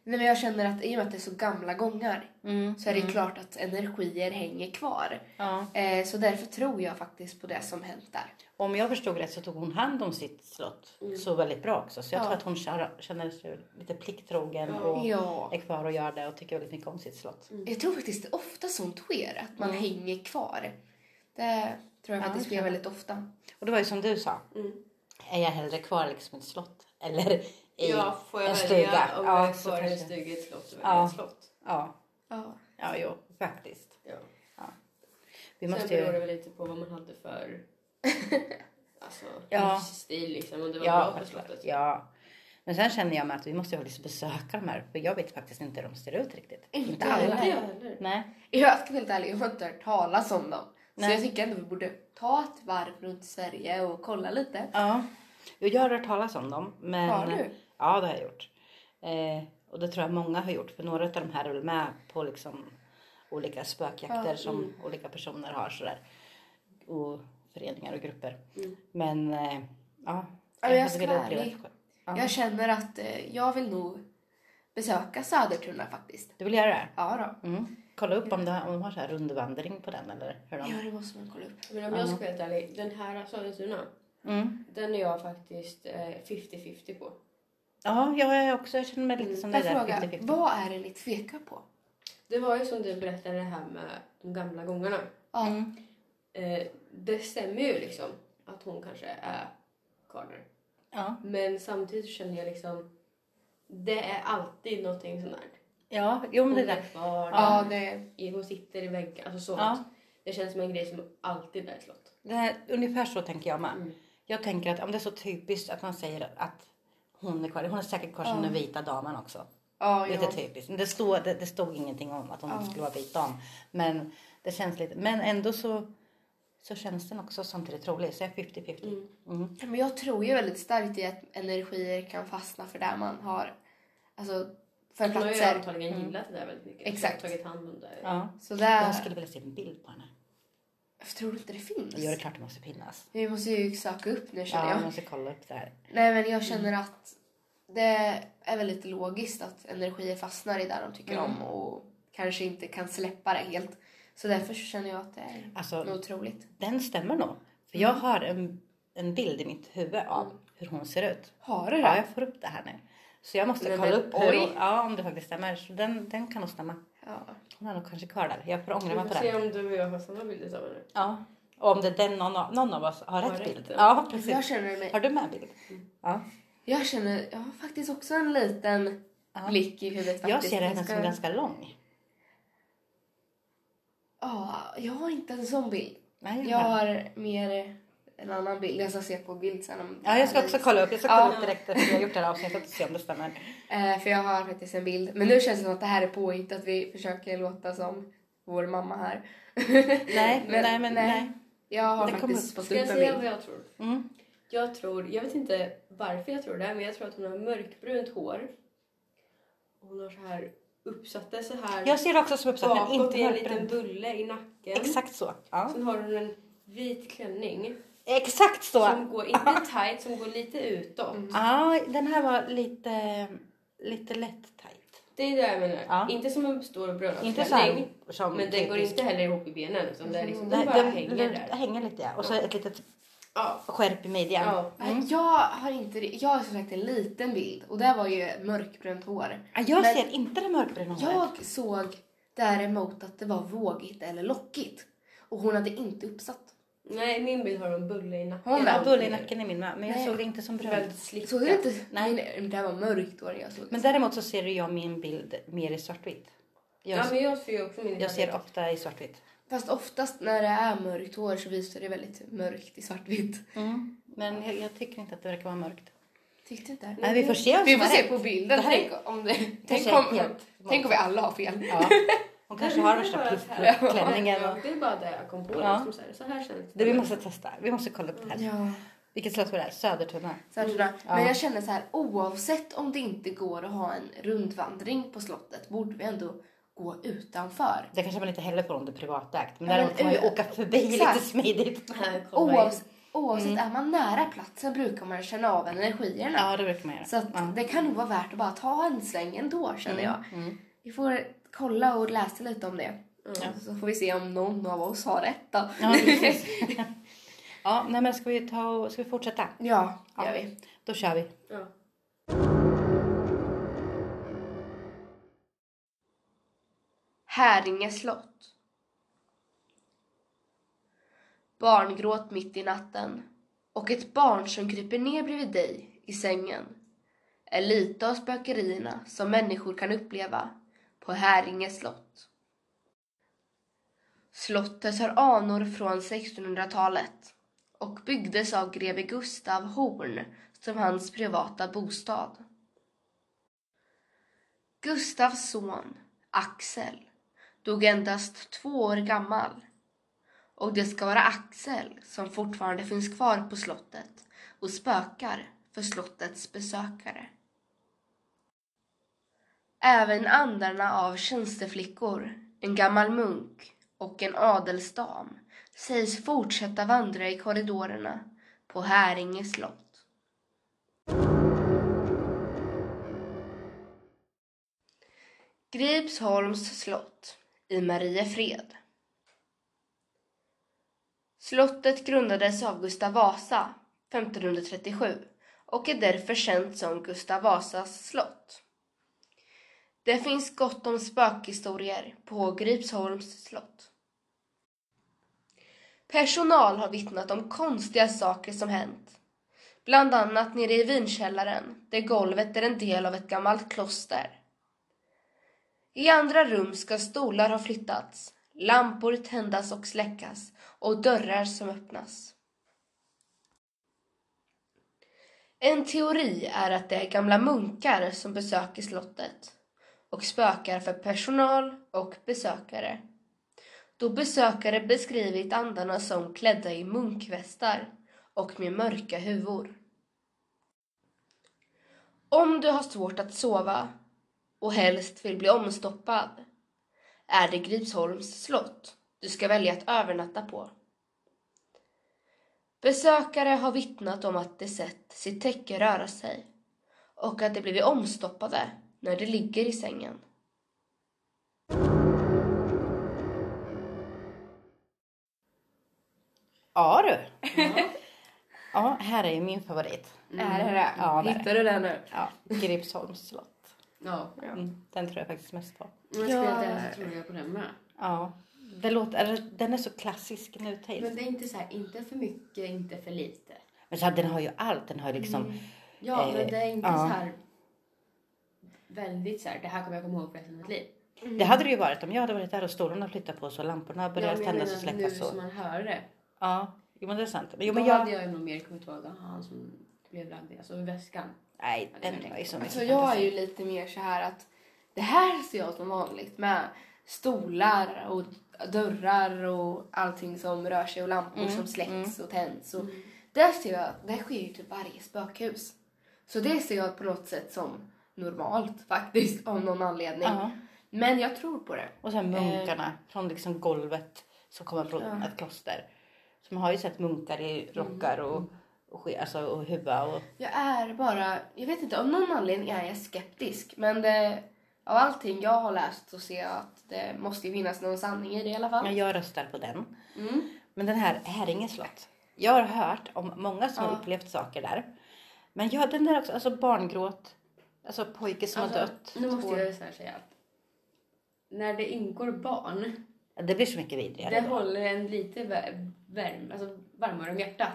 Speaker 2: Nej, men jag känner att i och med att det är så gamla gångar
Speaker 1: Mm.
Speaker 2: så är det klart att energier hänger kvar.
Speaker 1: Ja.
Speaker 2: Eh, så därför tror jag faktiskt på det som hänt där.
Speaker 1: Om jag förstod rätt så tog hon hand om sitt slott så väldigt bra också. Så jag
Speaker 2: Ja.
Speaker 1: tror att hon kär- känner sig lite plikttrogen och
Speaker 2: Ja.
Speaker 1: är kvar och gör det och tycker väldigt mycket om sitt slott.
Speaker 3: Mm.
Speaker 2: Jag tror faktiskt det ofta sånt sker, att man hänger kvar. Det tror jag faktiskt sker väldigt ofta.
Speaker 1: Och det var ju som du sa.
Speaker 3: Mm.
Speaker 1: Är jag hellre kvar liksom i ett slott eller i
Speaker 3: Ja, får jag
Speaker 1: en
Speaker 3: välja
Speaker 1: stuga?
Speaker 3: om
Speaker 1: Ja,
Speaker 3: jag är
Speaker 1: så
Speaker 3: kvar i en
Speaker 1: kanske.
Speaker 3: stuga i ett slott så väljer
Speaker 1: Ja.
Speaker 3: jag ett slott.
Speaker 1: Ja,
Speaker 2: Ja.
Speaker 1: ja jo, faktiskt.
Speaker 3: Ja.
Speaker 1: Vi
Speaker 3: Sen
Speaker 1: måste
Speaker 3: beror det
Speaker 1: ju...
Speaker 3: väl lite på vad man hade för alltså,
Speaker 1: Ja.
Speaker 3: livsstil liksom. Om det var
Speaker 1: Ja,
Speaker 3: bra på
Speaker 1: självklart.
Speaker 3: slottet.
Speaker 1: ja. Men sen känner jag mig att vi måste ju faktiskt besöka de här för jag vet faktiskt inte hur de ser ut riktigt. Inte
Speaker 3: Ja,
Speaker 1: alla.
Speaker 3: inte jag heller.
Speaker 1: Nej.
Speaker 2: Jag ska vara helt ärlig, jag har inte hört talas om dem.
Speaker 1: Nej.
Speaker 2: Så jag tycker ändå vi borde ta ett varv runt Sverige och kolla lite.
Speaker 1: Ja. Jo, Jag har hört talas om dem. Men...
Speaker 2: Har du?
Speaker 1: Ja, det har jag gjort. Eh, och det tror jag många har gjort. För några av de här är väl med på liksom olika spökjakter som
Speaker 2: mm.
Speaker 1: olika personer har sådär. Och föreningar och grupper. Men eh, ja.
Speaker 2: men Mm. jag
Speaker 1: hade
Speaker 2: ska
Speaker 1: velat
Speaker 2: vara
Speaker 1: uppleva
Speaker 2: ärlig.
Speaker 1: det själv. Ja.
Speaker 2: Jag känner att eh, jag vill nog besöka Södertuna faktiskt.
Speaker 1: Du vill göra det?
Speaker 2: Ja då.
Speaker 1: Mm. Kolla upp om, det, om de har så här rundvandring på den eller hur de...
Speaker 2: Ja, det måste man kolla upp.
Speaker 3: Men om jag ska vara helt ärlig, den här Sollentuna,
Speaker 1: Mm.
Speaker 3: den är jag faktiskt eh, 50-50 på.
Speaker 1: Ja, jag är också, jag känner mig lite som
Speaker 2: Mm. Jag
Speaker 1: det där
Speaker 2: frågar,
Speaker 1: 50-50.
Speaker 2: vad är det ni tvekar på?
Speaker 3: Det var ju som du berättade det här med de gamla gångarna.
Speaker 2: Ja.
Speaker 3: Eh, det stämmer ju liksom att hon kanske är kvar där.
Speaker 1: Ja.
Speaker 3: Men samtidigt så känner jag liksom, det är alltid någonting sånt där.
Speaker 1: ja, jo men
Speaker 3: Hon
Speaker 1: det där.
Speaker 3: är kvar
Speaker 2: Ja,
Speaker 3: där,
Speaker 2: det...
Speaker 3: i- hon sitter i väggen, alltså sånt.
Speaker 1: Ja.
Speaker 3: Det känns som en grej som alltid är ett slott.
Speaker 1: Det här, ungefär så tänker jag med.
Speaker 3: Mm.
Speaker 1: Jag tänker att om det är så typiskt att man säger att hon är kvar, hon är säkert kvar som den vita damen också.
Speaker 2: Ja,
Speaker 1: lite
Speaker 2: ja.
Speaker 1: typiskt. Men Det, stod, det, det stod ingenting om att hon
Speaker 2: Ja.
Speaker 1: skulle vara vit dam. Men det känns lite, men ändå så, så känns den också samtidigt rolig. Så jag är 50-50. Mm.
Speaker 2: Men jag tror ju väldigt starkt i att energier kan fastna för där man har... Alltså, för
Speaker 3: Hon har ju
Speaker 2: platser.
Speaker 3: antagligen gillat det där väldigt mycket.
Speaker 2: Exakt.
Speaker 3: Tagit hand om det.
Speaker 1: Mm. Ja.
Speaker 2: Så där...
Speaker 1: Jag skulle vilja se en bild på henne.
Speaker 2: Tror du inte det finns?
Speaker 1: Det gör det klart det måste finnas.
Speaker 2: Vi måste ju söka upp nu känner
Speaker 1: Ja, jag
Speaker 2: jag.
Speaker 1: måste kolla upp det här.
Speaker 2: Nej men jag känner
Speaker 1: Mm.
Speaker 2: att det är väldigt logiskt att energier fastnar i där de tycker
Speaker 1: Mm.
Speaker 2: om och kanske inte kan släppa det helt. Så därför så känner jag att det är
Speaker 1: Alltså-
Speaker 2: nog otroligt.
Speaker 1: Den stämmer nog. För jag
Speaker 2: Mm.
Speaker 1: har en, en bild i mitt huvud av hur hon ser ut.
Speaker 2: Har du det?
Speaker 1: Ja, jag får upp det här nu. Så jag måste
Speaker 3: Nej,
Speaker 1: kolla
Speaker 3: men
Speaker 1: upp hur,
Speaker 3: oj.
Speaker 1: ja, om det faktiskt stämmer. Så den, den kan nog stämma.
Speaker 2: Ja.
Speaker 1: Hon är nog kanske kvar där. Jag får
Speaker 3: Vi
Speaker 1: ångra mig på
Speaker 3: får se
Speaker 1: den.
Speaker 3: om du och jag har samma bilder av henne.
Speaker 1: Ja. Och om det är den någon av, någon av oss har
Speaker 3: Har
Speaker 1: rätt
Speaker 3: rätt,
Speaker 1: bild.
Speaker 3: ja.
Speaker 1: Ja,
Speaker 2: Jag
Speaker 1: precis.
Speaker 2: känner mig...
Speaker 1: Har du med en bild? Ja.
Speaker 2: Jag känner... Jag har faktiskt också en liten blick i huvudet faktiskt.
Speaker 1: Jag ser
Speaker 2: Jag
Speaker 1: henne
Speaker 2: ska-
Speaker 1: som ganska lång.
Speaker 2: Ja, jag har inte en sån bild.
Speaker 1: Nej,
Speaker 2: Jag har mer en annan bild. Jag ska se på bild sen om...
Speaker 1: Ja, jag ska också kolla upp. Jag ska
Speaker 2: Ja.
Speaker 1: kolla upp direkt efter vi har gjort det här avsnittet och se om det stämmer.
Speaker 2: Eh, för jag har faktiskt en bild. Men nu känns det som att det här är påhitt, att vi försöker låta som vår mamma här.
Speaker 1: Nej, nej, men nej.
Speaker 2: Jag har
Speaker 1: Det kommer
Speaker 2: faktiskt
Speaker 1: upp.
Speaker 2: fått
Speaker 3: Ska
Speaker 2: upp
Speaker 3: jag
Speaker 2: en
Speaker 3: säga vad
Speaker 2: bild.
Speaker 3: jag tror?
Speaker 1: Mm.
Speaker 3: Jag tror, jag vet inte varför jag tror det, men jag tror att hon har mörkbrunt hår. Hon har så här uppsatta så här
Speaker 1: Jag ser det också som uppsatt, men
Speaker 3: bakåt
Speaker 1: inte
Speaker 3: i en liten
Speaker 1: mörkbränd.
Speaker 3: bulle i nacken.
Speaker 1: Exakt så. Ja.
Speaker 3: Sen har hon en vit klänning
Speaker 1: Exakt så. Mm.
Speaker 3: som går, inte tight, som går lite utåt.
Speaker 1: Ja, den här var lite, lite lätt typ. tajt.
Speaker 3: Det är det jag menar.
Speaker 1: Ja.
Speaker 3: Inte som en stor bröllopsklänning.
Speaker 1: Inte så här som
Speaker 3: Men den går
Speaker 1: typisk-
Speaker 3: inte heller ihop i benen utan det är liksom,
Speaker 1: Nej,
Speaker 3: den bara hänger där.
Speaker 1: hänger lite ja. Och så ett litet
Speaker 3: Ja.
Speaker 1: skärp i midjan. Mm.
Speaker 3: Ja.
Speaker 2: Nej, Eh, Jag har inte det. Jag har som sagt en liten bild och där var ju mörkbrunt hår.
Speaker 1: Ah, Jag
Speaker 2: Men-
Speaker 1: ser inte det mörkbruna håret.
Speaker 2: Jag såg däremot att det var vågigt eller lockigt. Och hon hade inte uppsatt.
Speaker 3: Nej, i min bild har hon bulle i nacken.
Speaker 1: Hon har
Speaker 3: Alltid.
Speaker 1: bull i nacken i min med, men jag
Speaker 2: Nej.
Speaker 1: såg det inte som brun.
Speaker 3: Väldigt slickat.
Speaker 2: Såg du inte?
Speaker 1: Nej.
Speaker 2: Men Det här var mörkt hår jag såg.
Speaker 1: Men däremot så ser jag min bild mer i svartvitt. Jag,
Speaker 3: Ja, men jag ser ju också min
Speaker 1: jag ser ofta i svartvitt.
Speaker 2: Fast oftast när det är mörkt hår så visar det väldigt mörkt i svartvitt.
Speaker 3: Mm.
Speaker 1: Men jag, jag tycker inte att det verkar vara mörkt.
Speaker 2: Tyckte du inte?
Speaker 1: Nej, vi får se om
Speaker 2: Vi
Speaker 1: som
Speaker 2: får
Speaker 1: är
Speaker 2: se
Speaker 1: rätt.
Speaker 2: på bilden.
Speaker 1: Det här är-
Speaker 2: Tänk om, det, tänk,
Speaker 1: kanske är
Speaker 2: om,
Speaker 1: helt
Speaker 2: tänk om vi alla har fel.
Speaker 1: Ja. Hon kanske har värsta plissklänningen.
Speaker 3: Ja,
Speaker 1: och-
Speaker 3: det är bara det jag kom på.
Speaker 1: Ja.
Speaker 3: Liksom så, här, så här känns
Speaker 1: Det vi måste testa. Vi måste kolla upp det här.
Speaker 2: Ja.
Speaker 1: Vilket slott var det här? Södertuna.
Speaker 2: Så här, tror jag. Men jag känner så här, oavsett om det inte går att ha en rundvandring på slottet borde vi ändå gå utanför.
Speaker 1: Det kanske man inte heller får om det är privatägt. Men
Speaker 2: Ja, men
Speaker 1: däremot kan man ju
Speaker 2: ö-
Speaker 1: åka förbi
Speaker 2: exakt.
Speaker 1: lite smidigt.
Speaker 3: eh, Här kommer
Speaker 2: Oavs-
Speaker 5: oavsett
Speaker 2: Mm.
Speaker 5: är man nära platsen brukar man känna av energierna.
Speaker 1: Ja, det brukar man göra.
Speaker 5: Så att
Speaker 1: ja.
Speaker 5: det kan nog vara värt att bara ta en sväng ändå känner jag.
Speaker 2: Mm.
Speaker 5: Vi får kolla och läsa lite om det. Så får vi se om någon av oss har rätt då.
Speaker 1: Ja, precis. ja, nej men ska vi, ta och, ska vi fortsätta?
Speaker 5: ja,
Speaker 1: Ja.
Speaker 5: gör vi.
Speaker 1: Då kör vi.
Speaker 3: Ja.
Speaker 2: Häringe slott. Barngråt mitt i natten och ett barn som kryper ner bredvid dig i sängen är lite av spökerierna som människor kan uppleva på Häringe slott. Slottet har anor från 1600-talet och byggdes av greve Gustav Horn som hans privata bostad. Gustavs son, Axel, dog endast två år gammal. Och det ska vara Axel som fortfarande finns kvar på slottet och spökar för slottets besökare. Även andarna av tjänsteflickor, en gammal munk och en adelsdam sägs fortsätta vandra i korridorerna på Häringe slott. Gripsholms slott i Mariefred. Slottet grundades av Gustav Vasa 1537 och är därför känt som Gustav Vasas slott. Det finns gott om spökhistorier på Gripsholms slott. Personal har vittnat om konstiga saker som hänt. Bland annat nere i vinkällaren, där golvet är en del av ett gammalt kloster. I andra rum ska stolar ha flyttats, lampor tändas och släckas och dörrar som öppnas. En teori är att det är gamla munkar som besöker slottet och spökar för personal och besökare. Då besökare beskrivit andarna som klädda i munkvästar och med mörka huvor. Om du har svårt att sova och helst vill bli omstoppad är det Gripsholms slott du ska välja att övernatta på. Besökare har vittnat om att de sett sitt täcke röra sig och att de blivit omstoppade när de ligger i sängen.
Speaker 1: Ja du. ja, här är ju min favorit.
Speaker 6: Är det det?
Speaker 1: Ja, det är det.
Speaker 6: Hittar du det nu?
Speaker 1: Ja, Gripsholms slott.
Speaker 3: Ja.
Speaker 1: Mm, den tror jag faktiskt mest på.
Speaker 3: Om jag ska
Speaker 6: Ja.
Speaker 3: vara helt ärlig så tror jag på den med.
Speaker 1: Ja, det låter, eller, den är så klassisk nutid.
Speaker 3: Men
Speaker 1: Men,
Speaker 3: det är inte så här, inte för mycket, inte för lite.
Speaker 1: så här, den har ju allt. Den har ju liksom,
Speaker 3: Mm. Ja,
Speaker 1: Eh,
Speaker 3: men det är inte
Speaker 1: ja.
Speaker 3: så här väldigt så här, det här kommer jag komma ihåg för resten av mitt liv.
Speaker 1: det hade det ju varit om jag hade varit där och stolarna flyttat på sig och lamporna
Speaker 3: Ja,
Speaker 1: började
Speaker 3: men jag
Speaker 1: tändas och
Speaker 3: menar nu
Speaker 1: släckas. Och,
Speaker 3: som man hör det.
Speaker 1: Ja, jo men det är sant. Men, jo,
Speaker 3: Då
Speaker 1: men jag,
Speaker 3: hade jag ju nog mer kommit ihåg aha, han som blev lagd i alltså, väskan.
Speaker 1: nej,
Speaker 3: hade
Speaker 1: den
Speaker 3: jag
Speaker 1: var ju
Speaker 3: tänkt
Speaker 1: så mycket
Speaker 5: Alltså jag är
Speaker 1: fantasi.
Speaker 5: ju lite mer så här att det här ser jag som vanligt med stolar och dörrar och allting som rör sig och lampor
Speaker 1: Mm,
Speaker 5: som släcks och tänds. Och Där ser jag, det här sker ju typ varje spökhus. Så det ser jag på något sätt som normalt faktiskt av någon anledning.
Speaker 1: Ja.
Speaker 5: Men jag tror på det.
Speaker 1: Och sen munkarna från liksom golvet som kommer från ett kloster. Så man har ju sett munkar i rockar och, och, ske- alltså, och huva och
Speaker 5: Jag är bara, jag vet inte, av någon anledning är jag skeptisk. Men det, av allting jag har läst så ser jag att det måste ju finnas någon sanning i det i alla fall.
Speaker 1: Men jag röstar på den. Men den här Häringe slott. Jag har hört om många som har upplevt saker där. Men ja, den där också, alltså barngråt. Alltså pojke som har dött.
Speaker 3: Nu måste
Speaker 1: Två-
Speaker 3: jag så här säga att när det ingår barn,
Speaker 1: Det blir så mycket vidrigare.
Speaker 3: det
Speaker 1: då.
Speaker 3: håller en lite vä- värm, alltså varmare om hjärtat.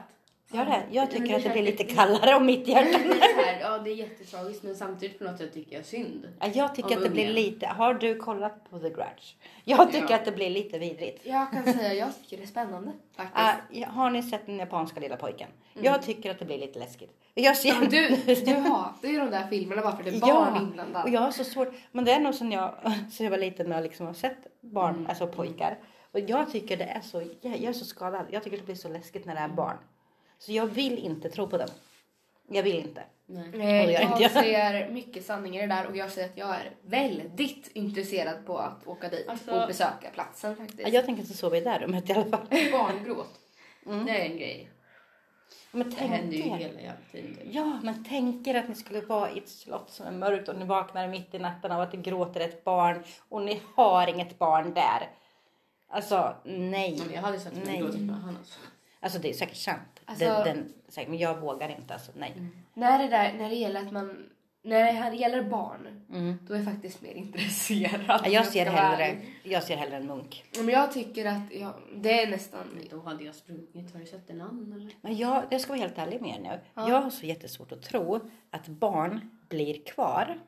Speaker 1: Gör det? Jag tycker
Speaker 3: Men det
Speaker 1: att det blir
Speaker 3: känns-
Speaker 1: lite kallare om mitt hjärta.
Speaker 3: Det är så här, ja, det är jättetragiskt men samtidigt på något sätt tycker jag synd.
Speaker 1: Ja, Jag tycker
Speaker 3: Om
Speaker 1: att det blir
Speaker 3: ungen.
Speaker 1: lite... Har du kollat på The Grudge? Jag tycker att det blir lite vidrigt.
Speaker 5: Jag kan säga jag tycker det är spännande faktiskt.
Speaker 1: Ah, har ni sett den japanska lilla pojken?
Speaker 3: Mm.
Speaker 1: Jag tycker att det blir lite läskigt. Jag ser...
Speaker 5: Men du, du hatar ju de där filmerna bara för det är barn inblandade.
Speaker 1: och jag har så svårt. Men det är nog sen jag, sen jag var liten när jag liksom har sett barn,
Speaker 3: Mm.
Speaker 1: alltså pojkar. Och jag tycker det är så, jag, jag är så skadad. Jag tycker det blir så läskigt när det är
Speaker 3: Mm.
Speaker 1: barn. Så jag vill inte tro på dem. Jag vill inte.
Speaker 5: Nej,
Speaker 2: Eh,
Speaker 1: Och jag
Speaker 5: jag,
Speaker 1: inte.
Speaker 5: ser mycket sanningar i det där och jag säger att jag är väldigt intresserad på att åka dit
Speaker 3: Alltså-
Speaker 5: och besöka platsen faktiskt.
Speaker 1: Jag tänker inte sova i det här rummet i alla fall.
Speaker 3: Barngråt, det är Mm. en grej.
Speaker 1: Men
Speaker 3: Det händer ju
Speaker 1: tänk er.
Speaker 3: hela jävla tiden. typ.
Speaker 1: Ja, men tänk er att ni skulle vara i ett slott som är mörkt och ni vaknar mitt i natten av att det gråter ett barn och ni har inget barn där. Alltså, nej.
Speaker 3: Men jag hade sagt att
Speaker 1: Nej.
Speaker 3: det går till han alltså.
Speaker 1: Alltså det är säkert sant.
Speaker 2: Alltså-
Speaker 1: Den, den, säkert, men jag vågar inte alltså, nej.
Speaker 2: När det, där, när det gäller att man... När det gäller barn,
Speaker 1: Mm.
Speaker 2: då är jag faktiskt mer intresserad.
Speaker 1: Ja, Jag
Speaker 2: ska
Speaker 1: ser
Speaker 2: vara
Speaker 1: hellre,
Speaker 2: ärlig.
Speaker 1: jag ser hellre en munk.
Speaker 2: Men jag tycker att ja, det är nästan...
Speaker 3: Men Då hade jag sprungit. Har du sett en annan eller?
Speaker 1: Men jag, jag ska vara helt ärlig med er nu. Jag har så jättesvårt att tro att barn blir kvar.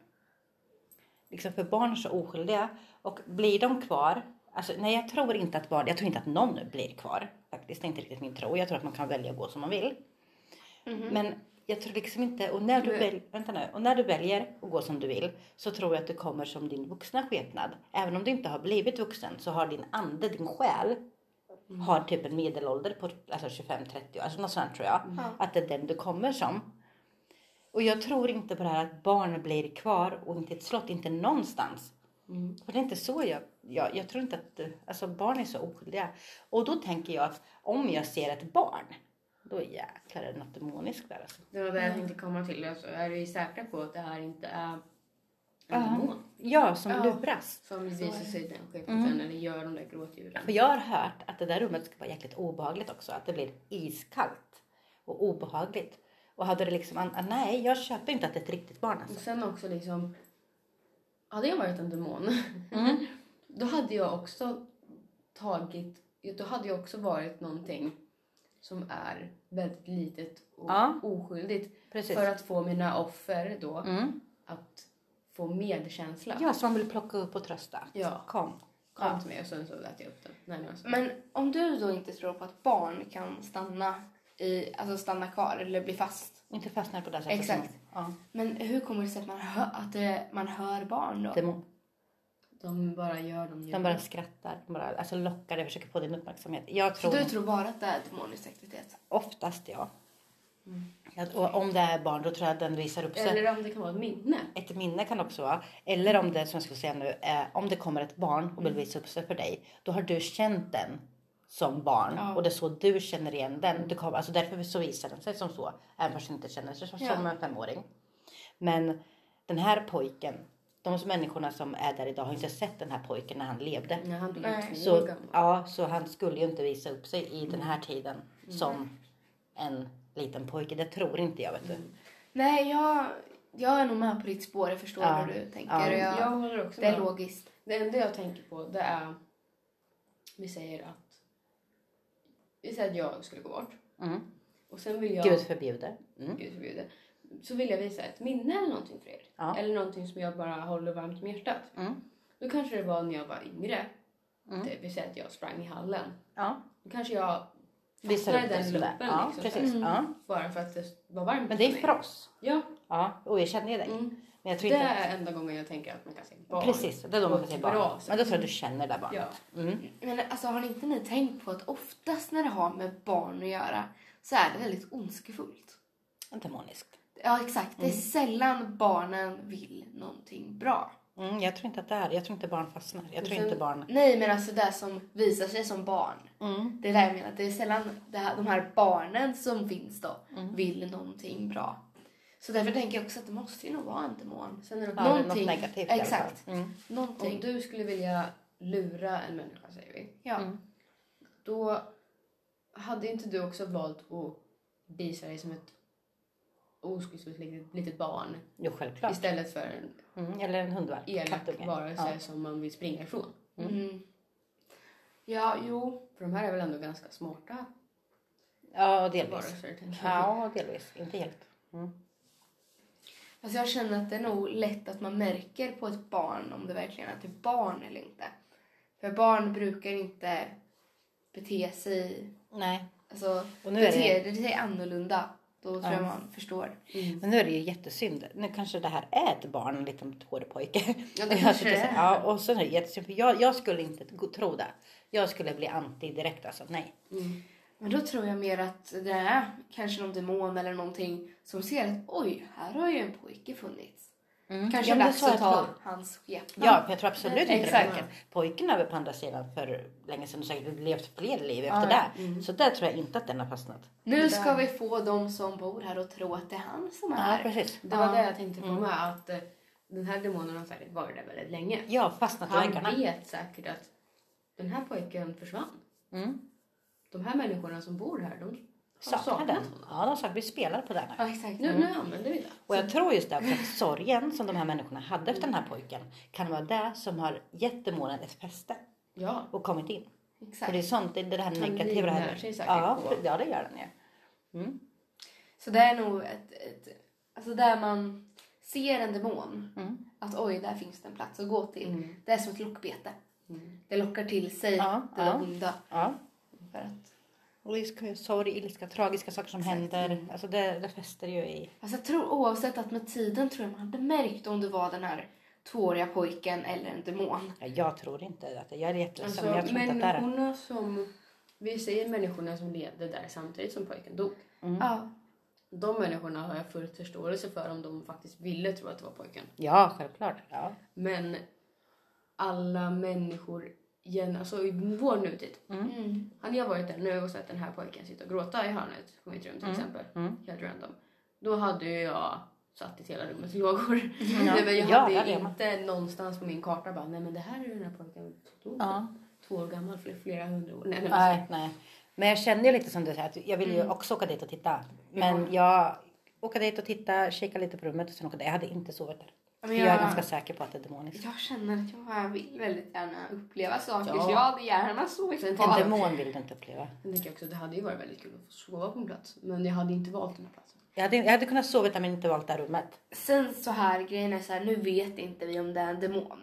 Speaker 1: Liksom för barn är så oskyldiga. Och blir de kvar, alltså nej jag tror inte att barn, jag tror inte att någon blir kvar. Faktiskt, det är inte riktigt min tro. Jag tror att man kan välja att gå som man vill. Men jag tror liksom inte, och när, du väl, vänta nu, och när du väljer att gå som du vill så tror jag att du kommer som din vuxna skepnad. Även om du inte har blivit vuxen så har din ande, din själ, har typ en medelålder på alltså 25-30, alltså något sånt tror jag. Att det är den du kommer som. Och jag tror inte på det här att barn blir kvar och inte i ett slott, inte någonstans. För det är inte så jag, jag, jag tror inte att, alltså barn är så oskyldiga. Och då tänker jag att om jag ser ett barn, då jäklar är det något demoniskt där alltså.
Speaker 3: Det var det jag tänkte komma till. Alltså, är vi säkra på att det här inte är en
Speaker 1: Ja.
Speaker 3: demon?
Speaker 1: Ja, som luras.
Speaker 3: Som visar sig den skepnaden
Speaker 1: Mm.
Speaker 3: eller gör de där gråtdjuren.
Speaker 1: För jag har hört att det där rummet ska vara jäkligt obehagligt också. Att det blir iskallt och obehagligt. Och hade det liksom, an- ah, nej jag köper inte att det är ett riktigt barn
Speaker 3: Och
Speaker 1: alltså.
Speaker 3: sen också liksom, hade jag varit en demon,
Speaker 1: Mm.
Speaker 3: då hade jag också tagit, då hade jag också varit någonting som är väldigt litet och
Speaker 1: Ja.
Speaker 3: oskyldigt.
Speaker 1: Precis.
Speaker 3: För att få mina offer då
Speaker 1: Mm.
Speaker 3: att få medkänsla.
Speaker 1: Ja, som vill plocka upp och trösta.
Speaker 3: Ja.
Speaker 1: Kom.
Speaker 3: Kom till mig och sen så lät jag upp den. Nej, men alltså.
Speaker 2: Men om du då inte tror på att barn kan stanna, i, alltså stanna kvar eller bli fast.
Speaker 1: Inte fastna på det sättet.
Speaker 2: Exakt.
Speaker 1: som- Ja.
Speaker 2: Men hur kommer det sig att man hör, att det, man hör barn då?
Speaker 1: Demon.
Speaker 3: De bara gör de
Speaker 1: De bara skrattar, de bara, alltså lockar dig och försöker få din uppmärksamhet. Jag
Speaker 2: Så
Speaker 1: tror
Speaker 2: du tror bara att det är demonisk aktivitet?
Speaker 1: oftast ja. Att- Och om det är barn då tror jag att den visar upp sig.
Speaker 3: Eller om det kan vara ett minne.
Speaker 1: Ett minne kan också vara. Eller om det, som jag skulle säga nu, eh, om det kommer ett barn och vill visa upp sig för dig. Då har du känt den som barn och det är så du känner igen den. Du kommer, alltså därför så visar den sig som så. Även fast den inte känner sig som, som en femåring. Men den här pojken, de människorna som är där idag har inte sett den här pojken när han levde.
Speaker 3: När han blev
Speaker 2: Nej,
Speaker 3: två år
Speaker 1: Så,
Speaker 3: gammal.
Speaker 1: ja, så han skulle ju inte visa upp sig i den här tiden som en liten pojke. Det tror inte jag vet du.
Speaker 2: Nej, jag, jag är nog med på ditt spår. Jag förstår
Speaker 1: Ja.
Speaker 2: hur du tänker.
Speaker 1: Ja.
Speaker 2: och
Speaker 3: Jag
Speaker 2: Jag,
Speaker 3: håller också
Speaker 2: det är
Speaker 3: med.
Speaker 2: logiskt.
Speaker 3: Det enda jag tänker på det är... Vi säger att... Vi säger att jag skulle gå bort.
Speaker 1: Mm.
Speaker 3: Och sen vill jag...
Speaker 1: Gud förbjude. Mm.
Speaker 3: Gud förbjude. Så vill jag visa ett minne eller någonting för er.
Speaker 1: Ja.
Speaker 3: Eller någonting som jag bara håller varmt om hjärtat.
Speaker 1: Mm.
Speaker 3: Då kanske det var när jag var yngre.
Speaker 1: Mm.
Speaker 3: Det, vi säger att jag sprang i hallen.
Speaker 1: Ja.
Speaker 3: Då kanske jag
Speaker 1: Visar upp
Speaker 3: fastnade i
Speaker 1: det
Speaker 3: den
Speaker 1: sådär.
Speaker 3: loopen.
Speaker 1: Ja,
Speaker 3: liksom,
Speaker 1: precis. Ja.
Speaker 3: Bara för att det var varmt
Speaker 1: Men det är
Speaker 3: för
Speaker 1: för
Speaker 3: mig.
Speaker 1: oss.
Speaker 3: Ja.
Speaker 1: Ja, och jag känner ju dig.
Speaker 3: Mm.
Speaker 1: Men jag tror
Speaker 3: Det
Speaker 1: inte att...
Speaker 3: är enda gången jag tänker att man kan se barn.
Speaker 1: Precis, det är då man
Speaker 3: på
Speaker 1: kan
Speaker 3: ett
Speaker 1: säga
Speaker 3: bra
Speaker 1: barn.
Speaker 3: sätt.
Speaker 1: Men då tror jag att du känner det där
Speaker 3: Ja.
Speaker 1: barnet. Mm.
Speaker 2: Men alltså, har ni inte ni tänkt på att oftast när det har med barn att göra så är det väldigt ondskefullt?
Speaker 1: Demoniskt.
Speaker 2: Ja, exakt. Det är sällan barnen vill någonting bra.
Speaker 1: Mm, jag tror inte att det är. Jag tror inte barn fastnar. Jag tror
Speaker 3: sen-
Speaker 1: inte barn...
Speaker 2: Nej, men alltså det som visar sig som barn.
Speaker 1: Mm.
Speaker 2: Det är där jag menar. att Det är sällan det här, de här barnen som finns då
Speaker 1: Mm.
Speaker 2: vill någonting bra. Så därför tänker jag också att det måste ju nog vara en demon.
Speaker 3: Sen är det
Speaker 1: Ja, det är något
Speaker 2: Någonting.
Speaker 1: negativt i alla fall.
Speaker 2: Exakt.
Speaker 1: Mm.
Speaker 2: Någonting.
Speaker 3: Om du skulle vilja lura en människa, säger vi.
Speaker 2: Ja.
Speaker 1: Mm.
Speaker 3: Då hade inte du också valt att visa dig som ett oskuldsfullt litet, litet barn
Speaker 1: Jo, självklart.
Speaker 3: istället för en
Speaker 1: Mm. Eller en hundvalp.
Speaker 3: elak
Speaker 1: Kattunge.
Speaker 3: varelse
Speaker 1: Ja.
Speaker 3: som man vill springa ifrån.
Speaker 2: Mm. Ja, jo.
Speaker 3: För de här är väl ändå ganska smarta
Speaker 1: ja, delvis.
Speaker 3: varelser, tänker jag.
Speaker 1: Ja, delvis. Inte helt.
Speaker 2: Alltså jag känner att det är nog lätt att man märker på ett barn om det verkligen är ett barn eller inte. För barn brukar inte bete sig,
Speaker 1: Nej.
Speaker 2: alltså
Speaker 1: Och nu är
Speaker 2: beter
Speaker 1: det-
Speaker 2: det... sig annorlunda. Då tror jag man förstår.
Speaker 3: Mm.
Speaker 1: Men nu är det ju jättesynd. Nu kanske det här är ett barn, en liten hårig pojke.
Speaker 2: Ja, det kanske det är.
Speaker 1: Ja, och sen är det jättesynd. För jag, jag skulle inte gå- tro det. Jag skulle bli anti direkt alltså. Nej.
Speaker 3: Mm.
Speaker 2: Men då tror jag mer att det är kanske någon demon eller någonting som ser att oj, här har ju en pojke funnits.
Speaker 1: Mm.
Speaker 2: Kanske
Speaker 1: Ja, men det
Speaker 2: dags
Speaker 1: sa jag
Speaker 2: att ta
Speaker 1: tror.
Speaker 2: hans skepnad.
Speaker 1: Ja, för jag tror absolut inte det
Speaker 2: Exakt.
Speaker 1: är pojken. Pojken är väl på andra sidan för länge sedan och säkert levt fler liv
Speaker 2: Ja, Mm.
Speaker 1: efter det. Så där tror jag inte att den har fastnat.
Speaker 2: Nu ska vi få de som bor här att tro att det är han som är
Speaker 1: Ja, Mm.
Speaker 2: här.
Speaker 1: precis.
Speaker 3: Det var det jag tänkte på med. Att eh, den här demonen har säkert varit där väldigt länge.
Speaker 1: Ja, fastnat i väggarna.
Speaker 3: Han vet säkert att den här pojken försvann.
Speaker 1: Mm.
Speaker 3: De här människorna som bor här, de har
Speaker 1: Saknar
Speaker 3: saknat
Speaker 1: den. Mm.
Speaker 3: honom.
Speaker 1: Ja, de saknar. Vi spelar på den.
Speaker 2: Ja, exakt.
Speaker 3: Nu, nu använder vi det.
Speaker 1: Och jag tror just det, för att sorgen som de här människorna hade efter den här pojken kan vara det som har gett demonen ett fäste
Speaker 3: Ja.
Speaker 1: och kommit in. För det är
Speaker 2: exakt.
Speaker 1: sånt, det är det här negativa. Det
Speaker 3: livnär
Speaker 1: här.
Speaker 3: sig säkert
Speaker 1: Ja,
Speaker 3: på-
Speaker 1: ja, det gör den ju. Mm.
Speaker 2: Så det är nog ett, ett... Alltså där man ser en demon.
Speaker 1: Mm.
Speaker 2: Att oj, där finns det en plats att gå till. Det är som ett lockbete.
Speaker 3: Mm.
Speaker 2: Det lockar till sig
Speaker 1: Ja,
Speaker 2: det
Speaker 1: ja.
Speaker 2: onda.
Speaker 1: Ja.
Speaker 2: För att,
Speaker 1: Och det är sorg, ilska, tragiska saker som
Speaker 2: Exakt.
Speaker 1: händer. Alltså det, det fäster ju i...
Speaker 2: alltså jag tror oavsett att med tiden tror jag man hade märkt om det var den här tvååriga pojken eller en demon.
Speaker 1: Ja, jag tror inte att det... Jag är jätteledsen,
Speaker 3: Alltså,
Speaker 1: men jag tror inte att det är det.
Speaker 3: människorna som... Vi säger människorna som levde där samtidigt som pojken dog.
Speaker 1: Mm.
Speaker 2: Ja,
Speaker 3: De människorna har jag full förståelse för om de faktiskt ville tro att det var pojken.
Speaker 1: Ja, självklart. Ja.
Speaker 3: Men alla människor igen, alltså i vår nutid.
Speaker 2: Mm.
Speaker 3: Hade jag varit där nu och sett den här pojken sitta och gråta i hörnet på mitt
Speaker 1: Mm.
Speaker 3: rum till exempel. Helt random. Då hade ju jag satt i hela rummet i lågor. Nej,
Speaker 1: Mm,
Speaker 3: men jag
Speaker 1: Ja,
Speaker 3: hade
Speaker 1: det
Speaker 3: ju
Speaker 1: hade jag med.
Speaker 3: inte någonstans på min karta bara, nej men det här är ju den här pojken. Då,
Speaker 1: Ja.
Speaker 3: Två år gammal, fl- flera hundra år. Nej, nej, men-
Speaker 1: Nej, Mm. nej. Men jag känner ju lite som du säger att jag vill ju också åka dit och titta. Men jag åka dit och titta, kika lite på rummet och sen åka dit. Jag hade inte sovit där.
Speaker 2: Ja,
Speaker 1: För
Speaker 2: men
Speaker 1: jag är
Speaker 2: jag-
Speaker 1: ganska säker på att det är demoniskt.
Speaker 2: Jag känner att jag vill väldigt gärna uppleva saker
Speaker 3: Ja.
Speaker 2: så jag hade gärna sovit
Speaker 3: Sen
Speaker 2: kvar.
Speaker 1: En demon vill du inte uppleva.
Speaker 3: Jag tänker också, det hade ju varit väldigt kul att få sova på en plats. Men jag hade inte valt den här platsen.
Speaker 1: Jag hade, jag hade kunnat sova där men inte valt det här rummet.
Speaker 2: Sen så här grejen är så här, nu vet inte vi om det är en demon.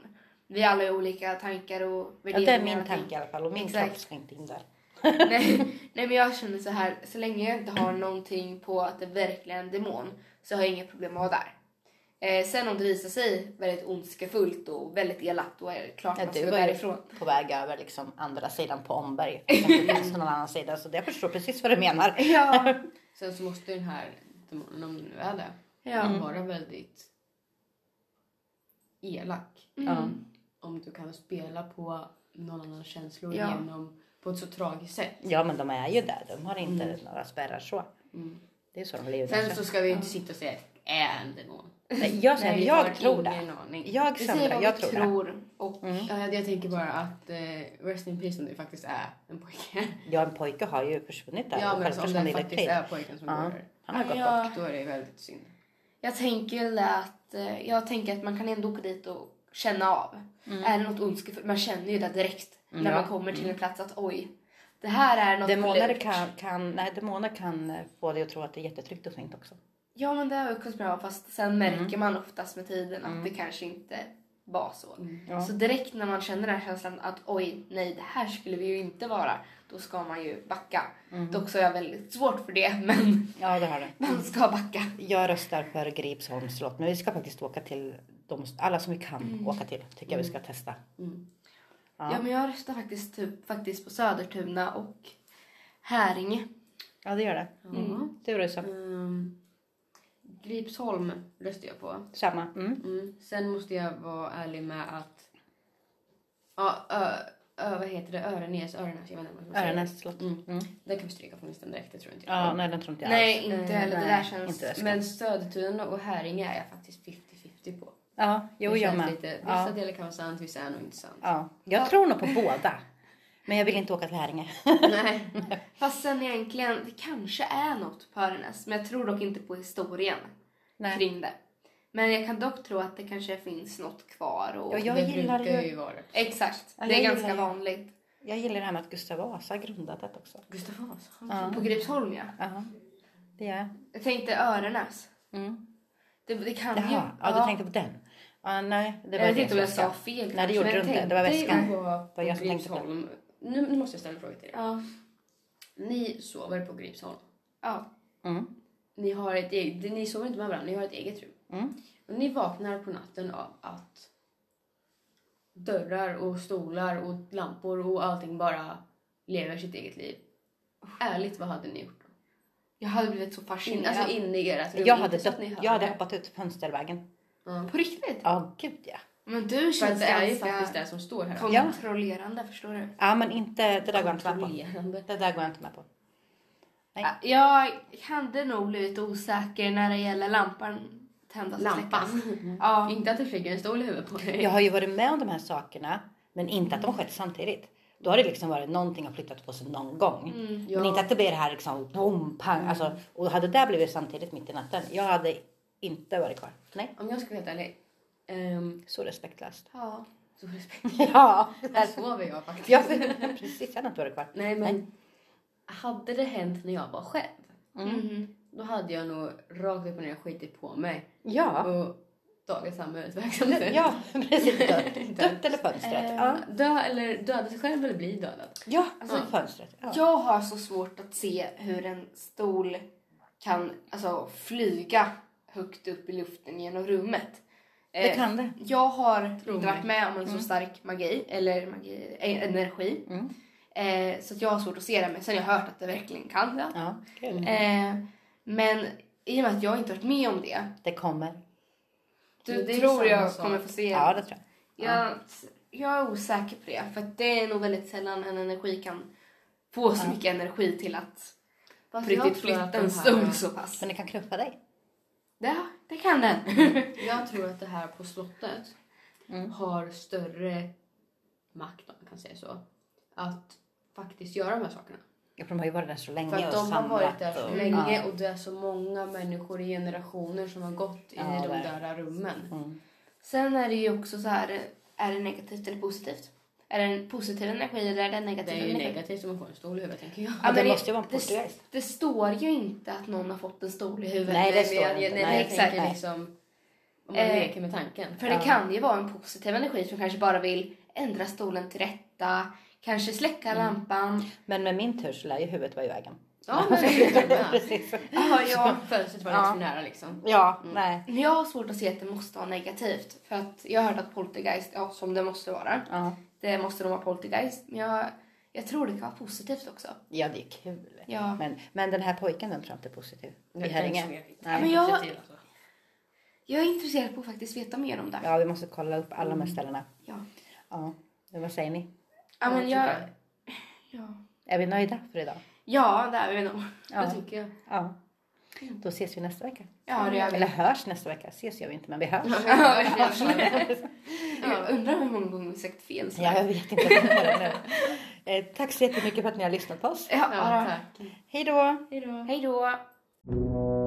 Speaker 2: Vi alla har olika tankar och
Speaker 1: Ja,
Speaker 2: värderingar.
Speaker 1: det är min
Speaker 2: och allting.
Speaker 1: tanke i alla fall och min
Speaker 2: Exakt.
Speaker 1: kropp ska inte in där.
Speaker 2: nej, nej men jag känner så här, så länge jag inte har någonting på att det verkligen är en demon så har jag inga problem med att vara där. Eh, sen om det visar sig väldigt ondskefullt och väldigt elakt då är det klart
Speaker 1: Ja,
Speaker 2: man
Speaker 1: du
Speaker 2: ska
Speaker 1: var ju
Speaker 2: därifrån.
Speaker 1: på väg över liksom andra sidan på Omberg. Det finns någon annan sida så jag förstår precis vad du menar.
Speaker 2: Ja,
Speaker 3: Sen så måste den här demonen, om det nu är det,
Speaker 2: ja.
Speaker 1: Mm,
Speaker 3: vara väldigt elak.
Speaker 1: Mm.
Speaker 3: Om du kan spela på någon annans känslor
Speaker 2: Ja.
Speaker 3: genom, på ett så tragiskt sätt.
Speaker 1: Ja men de är ju där, de har inte några spärrar så. Det är så de lever.
Speaker 3: Sen så ska vi inte sitta och säga "Äh, att det är en demon.
Speaker 1: Nej, jag säger,
Speaker 3: vi har
Speaker 1: jag tror
Speaker 3: ingen
Speaker 1: det.
Speaker 3: aning.
Speaker 1: Jag
Speaker 2: Vi säger
Speaker 1: söndrar,
Speaker 2: vad
Speaker 1: jag
Speaker 2: vi
Speaker 1: tror det. Mm.
Speaker 2: tror och
Speaker 3: Jag, jag tänker bara att eh, Rest in Peace om det faktiskt är en pojke.
Speaker 1: Ja, en pojke har ju försvunnit där.
Speaker 3: Ja, men
Speaker 1: Självklart
Speaker 3: alltså, om
Speaker 1: ska han
Speaker 3: det
Speaker 1: leda
Speaker 3: faktiskt
Speaker 1: krig.
Speaker 3: är pojken som
Speaker 1: Ja.
Speaker 3: går där.
Speaker 1: Han har gått
Speaker 2: Ja.
Speaker 1: bort.
Speaker 3: Då är det väldigt synd.
Speaker 2: Jag tänker väl att, eh, jag tänker att man kan ändå åka dit och känna av. Är det något ondskefullt? Man känner ju det direkt när
Speaker 1: Mm. Ja. Mm.
Speaker 2: man kommer till en plats att oj, det här är något
Speaker 1: Demoner
Speaker 2: lurt.
Speaker 1: kan, kan, nej, demoner kan eh, få dig att tro att det är jättetryggt och fint också.
Speaker 2: Ja men det har jag också bra fast sen
Speaker 1: Mm.
Speaker 2: märker man oftast med tiden att det kanske inte var så.
Speaker 3: Mm.
Speaker 2: Så direkt när man känner den här känslan att oj, nej det här skulle vi ju inte vara. Då ska man ju backa.
Speaker 1: Mm.
Speaker 2: Dock så har jag väldigt svårt för det men
Speaker 1: Ja, det har det.
Speaker 2: man ska backa.
Speaker 1: Jag röstar för Gripsholms slott, men vi ska faktiskt åka till de, alla som vi kan åka till. Tycker jag vi ska testa.
Speaker 3: Mm.
Speaker 2: Ja. men jag röstar faktiskt, typ, faktiskt på Södertuna och Häringe.
Speaker 1: Ja, det gör det.
Speaker 3: Mm.
Speaker 1: Du röstar.
Speaker 3: Ehm, Gripsholm röstar jag på.
Speaker 1: Samma. Mm.
Speaker 3: Mm. Sen måste jag vara ärlig med att... Ja, ö, ö, vad heter det? Örenäs, Örenäs, jag vet inte vad man säger.
Speaker 1: Örenäs slott.
Speaker 3: Mm.
Speaker 1: Mm.
Speaker 3: Det kan vi stryka från listan direkt, det tror jag inte.
Speaker 1: Ja, nej, den tror inte jag alls.
Speaker 2: Nej, inte
Speaker 3: Nej,
Speaker 2: heller. Det
Speaker 1: nej,
Speaker 2: där känns...
Speaker 1: inte det.
Speaker 3: Men Södertuna och Häringe är jag faktiskt 50-50 på.
Speaker 1: Ja, jo,
Speaker 3: det
Speaker 1: jag
Speaker 3: känns
Speaker 1: med.
Speaker 3: lite, vissa
Speaker 1: ja.
Speaker 3: delar kan vara sant, vissa är nog inte sant.
Speaker 1: Ja. Jag tror nog på båda. Men jag vill inte åka till Häringe.
Speaker 3: Nej.
Speaker 2: Fast sen egentligen, det kanske är något på Örenäs. Men jag tror dock inte på historien
Speaker 1: Nej.
Speaker 2: kring det. Men jag kan dock tro att det kanske finns något kvar. Och...
Speaker 1: Ja, jag
Speaker 3: det
Speaker 1: gillar
Speaker 3: brukar
Speaker 1: ju-
Speaker 3: ju vara det.
Speaker 2: Exakt,
Speaker 1: Ja,
Speaker 2: det
Speaker 1: jag
Speaker 2: är
Speaker 1: gillar
Speaker 2: ganska
Speaker 1: det.
Speaker 2: vanligt.
Speaker 1: Jag gillar det här med att Gustav Vasa grundat det också.
Speaker 3: Gustav Vasa.
Speaker 2: På Gripsholm ja.
Speaker 1: Ja, det gör jag.
Speaker 2: Jag tänkte Örenäs.
Speaker 1: Mm.
Speaker 2: Det, det kan ju...
Speaker 1: Jaha, ja, du tänkte på den. Ja, nej, det var
Speaker 2: jag vet inte om jag
Speaker 1: som
Speaker 2: sa fel.
Speaker 1: Nej, det gjorde
Speaker 2: men
Speaker 1: du
Speaker 2: jag
Speaker 1: inte.
Speaker 2: tänkte-
Speaker 1: Det var
Speaker 3: Tänk
Speaker 1: väskan.
Speaker 3: på, på
Speaker 1: Vad jag som tänkte på.
Speaker 3: Gripsholm. Nu, nu måste jag ställa en fråga till er.
Speaker 2: Ja,
Speaker 3: Ni sover på Gripsholm.
Speaker 2: ja.
Speaker 1: Mm.
Speaker 3: Ni, har ett eget, ni sover inte med varandra, ni har ett eget rum.
Speaker 1: Mm.
Speaker 3: Och ni vaknar på natten av att dörrar och stolar och lampor och allting bara lever sitt eget liv. Ärligt, vad hade ni gjort? då?
Speaker 2: Jag hade blivit så
Speaker 3: In,
Speaker 2: fascinerad.
Speaker 3: alltså inne i ert rum.
Speaker 1: Jag hade,
Speaker 3: inte så
Speaker 1: dött,
Speaker 3: att ni hörde.
Speaker 1: jag hade hoppat ut fönstervägen.
Speaker 3: Ja.
Speaker 2: På riktigt?
Speaker 1: Ja, gud ja.
Speaker 2: Men du
Speaker 3: För att
Speaker 2: känns
Speaker 3: det är ju
Speaker 2: ganska
Speaker 3: faktiskt det som står här.
Speaker 2: kontrollerande, förstår du?
Speaker 1: Ja, men inte, det där går jag inte med på.
Speaker 7: Kontrollerande.
Speaker 1: Det där går jag inte med på. Nej.
Speaker 2: Jag hade nog blivit osäker när det gäller lampan tändas och
Speaker 3: Lampan.
Speaker 2: släckas. Ja.
Speaker 3: Inte att det flyger en stol i huvudet på dig.
Speaker 1: Jag har ju varit med om de här sakerna, men inte att de skett samtidigt. Då har det liksom varit någonting har flyttat på sig någon gång.
Speaker 2: Mm.
Speaker 1: Men inte att det blir det här liksom boom, pang. Alltså, och hade det blivit samtidigt mitt i natten, jag hade inte varit kvar. Nej,
Speaker 3: Om jag ska vara helt ärlig. ehm,
Speaker 1: så respektlöst.
Speaker 2: ja.
Speaker 3: så respekt.
Speaker 1: Ja,
Speaker 3: Här sover jag faktiskt.
Speaker 1: jag precis, jag hade inte varit kvar.
Speaker 3: Nej men. Hade det hänt när jag var själv.
Speaker 1: Mm.
Speaker 2: Mhm.
Speaker 3: Då hade jag nog rakt upp och ner skitit på mig.
Speaker 1: Ja,
Speaker 3: Och tagit samhällets verksamhet.
Speaker 1: ja precis. Dött, dött eller fönstret. Ja,
Speaker 3: Dö eller döda sig själv eller bli dödad.
Speaker 1: ja Eh, alltså, fönstret. Ja.
Speaker 2: Jag har så svårt att se hur en stol kan alltså, flyga högt upp i luften genom rummet. Eh,
Speaker 1: Det kan det.
Speaker 2: Jag har
Speaker 3: Tro
Speaker 2: inte
Speaker 3: mig.
Speaker 2: varit med om en så stark magi, eller magi, eh, energi.
Speaker 1: Mm.
Speaker 2: Eh, så att jag har svårt att se det, men sen har jag hört att det verkligen kan det.
Speaker 1: Ja, kul.
Speaker 2: Eh, men i och med att jag inte varit med om det,
Speaker 1: Det kommer.
Speaker 2: du
Speaker 3: Det är
Speaker 2: tror
Speaker 3: samma
Speaker 2: jag
Speaker 3: sak.
Speaker 2: kommer få se
Speaker 1: Ja, det tror jag.
Speaker 2: Jag, jag är osäker på det, för att det är nog väldigt sällan en energi kan få så mycket energi till att
Speaker 3: Fast
Speaker 2: på
Speaker 3: jag
Speaker 2: riktigt
Speaker 3: tror att
Speaker 2: flytta
Speaker 3: de
Speaker 2: en
Speaker 3: här-
Speaker 2: stol så pass.
Speaker 1: Men det kan knuffa dig.
Speaker 2: Ja, det kan den.
Speaker 3: Jag tror att det här på slottet har större makt, om man kan säga så, att faktiskt göra de här sakerna.
Speaker 1: Ja, för de har ju varit där så länge
Speaker 3: För att
Speaker 1: och
Speaker 3: de har
Speaker 1: Mm. samlat
Speaker 3: varit där så
Speaker 1: och- Mm.
Speaker 3: länge
Speaker 1: Ja.
Speaker 3: och det är så många människor i generationer som har gått i
Speaker 1: Ja, Mm.
Speaker 3: de
Speaker 1: verkligen.
Speaker 3: där rummen.
Speaker 2: Sen är det ju också så här, är det negativt eller positivt? Är det en positiv energi eller är det en
Speaker 3: Det
Speaker 2: negativ
Speaker 3: är ju
Speaker 2: energi?
Speaker 3: negativt om man får en stol i huvudet, tänker jag.
Speaker 2: Ja,
Speaker 1: det
Speaker 2: men
Speaker 1: måste ju vara en
Speaker 2: det-
Speaker 1: portugis.
Speaker 2: Det står ju inte att någon har fått en stol i huvudet.
Speaker 1: Nej, det
Speaker 3: men
Speaker 1: står
Speaker 3: jag,
Speaker 1: inte.
Speaker 3: Nej,
Speaker 1: Nej,
Speaker 3: jag
Speaker 2: exakt.
Speaker 3: tänker liksom om man
Speaker 2: Eh,
Speaker 3: leker med tanken.
Speaker 2: För det kan ju vara en positiv energi som kanske bara vill ändra stolen till rätta, kanske släcka lampan.
Speaker 1: Men med min tur så lär ju huvudet vara i vägen.
Speaker 3: Ja, men det är det.
Speaker 1: Precis.
Speaker 2: Ja, Mm. ja.
Speaker 3: Fönstret var
Speaker 2: Ja.
Speaker 3: lite för nära liksom.
Speaker 1: Ja, nej.
Speaker 2: Men jag har svårt att se att det måste vara negativt. För att jag har hört att poltergeist, ja som det måste vara.
Speaker 1: Ja.
Speaker 2: Det måste nog vara poltergeist. Men jag, jag tror det kan vara positivt också.
Speaker 1: ja, det är kul.
Speaker 2: Ja.
Speaker 1: Men, men den här pojken den tror jag inte är positiv. I
Speaker 3: Den
Speaker 1: Herringe.
Speaker 3: som är riktigt
Speaker 1: Nej.
Speaker 2: Men jag-
Speaker 3: positiv, alltså.
Speaker 2: Jag är intresserad på att faktiskt veta mer om det.
Speaker 1: Ja, vi måste kolla upp alla de här ställena.
Speaker 2: Ja.
Speaker 1: Ja. Men vad säger ni?
Speaker 2: Ja, men jag...
Speaker 3: tycker
Speaker 2: Ja.
Speaker 1: Är vi nöjda för idag?
Speaker 2: ja, det är vi nog.
Speaker 3: Det tycker jag.
Speaker 1: Ja. Då ses vi nästa vecka.
Speaker 2: Ja, det är vi.
Speaker 1: Eller hörs nästa vecka. Ses gör vi inte, men vi hörs.
Speaker 2: Jag undrar hur många gånger vi sagt fel. Så.
Speaker 1: Ja, jag vet inte. vad jag ska göra nu. Eh, Tack så jättemycket för att ni har lyssnat på oss.
Speaker 2: Ja,
Speaker 3: Ja,
Speaker 2: ja.
Speaker 3: tack.
Speaker 1: Hej då!
Speaker 2: Hej då.